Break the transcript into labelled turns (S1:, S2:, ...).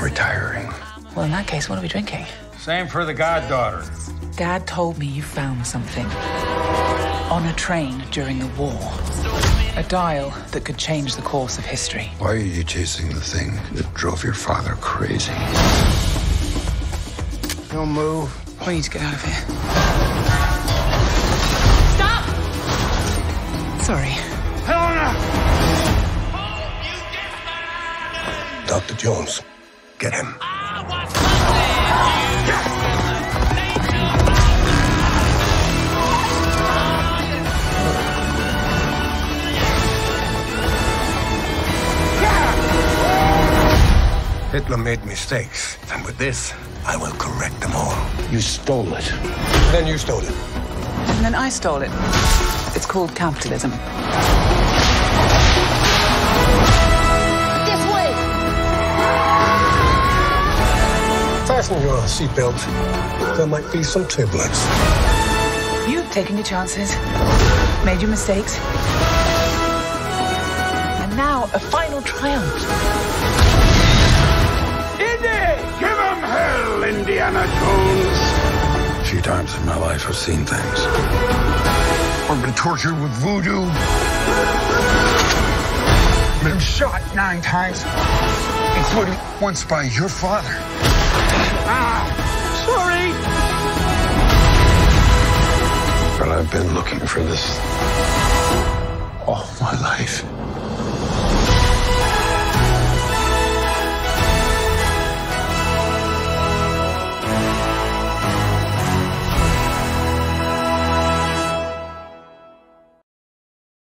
S1: retiring.
S2: Well, in that case, what are we drinking?
S3: Same for the goddaughter.
S2: Dad told me you found something on a train during the war. A dial that could change the course of history.
S1: Why are you chasing the thing that drove your father crazy?
S3: He'll move.
S2: We need to get out of here.
S4: Stop!
S2: Sorry.
S3: Helena!
S1: Dr. Jones, get him.
S5: Hitler made mistakes, and with this, I will correct them all.
S1: You stole it.
S5: Then you stole it.
S2: And then I stole it. It's called capitalism.
S4: This way!
S5: Fasten your seatbelt. There might be some turbulence.
S2: You've taken your chances, made your mistakes, and now a final triumph.
S3: Indy! Give him hell, Indiana Jones!
S1: Few times in my life I've seen things.
S5: I've been tortured with voodoo.
S3: Been shot nine times, including once by your father. Ah! Sorry!
S1: But I've been looking for this all my life.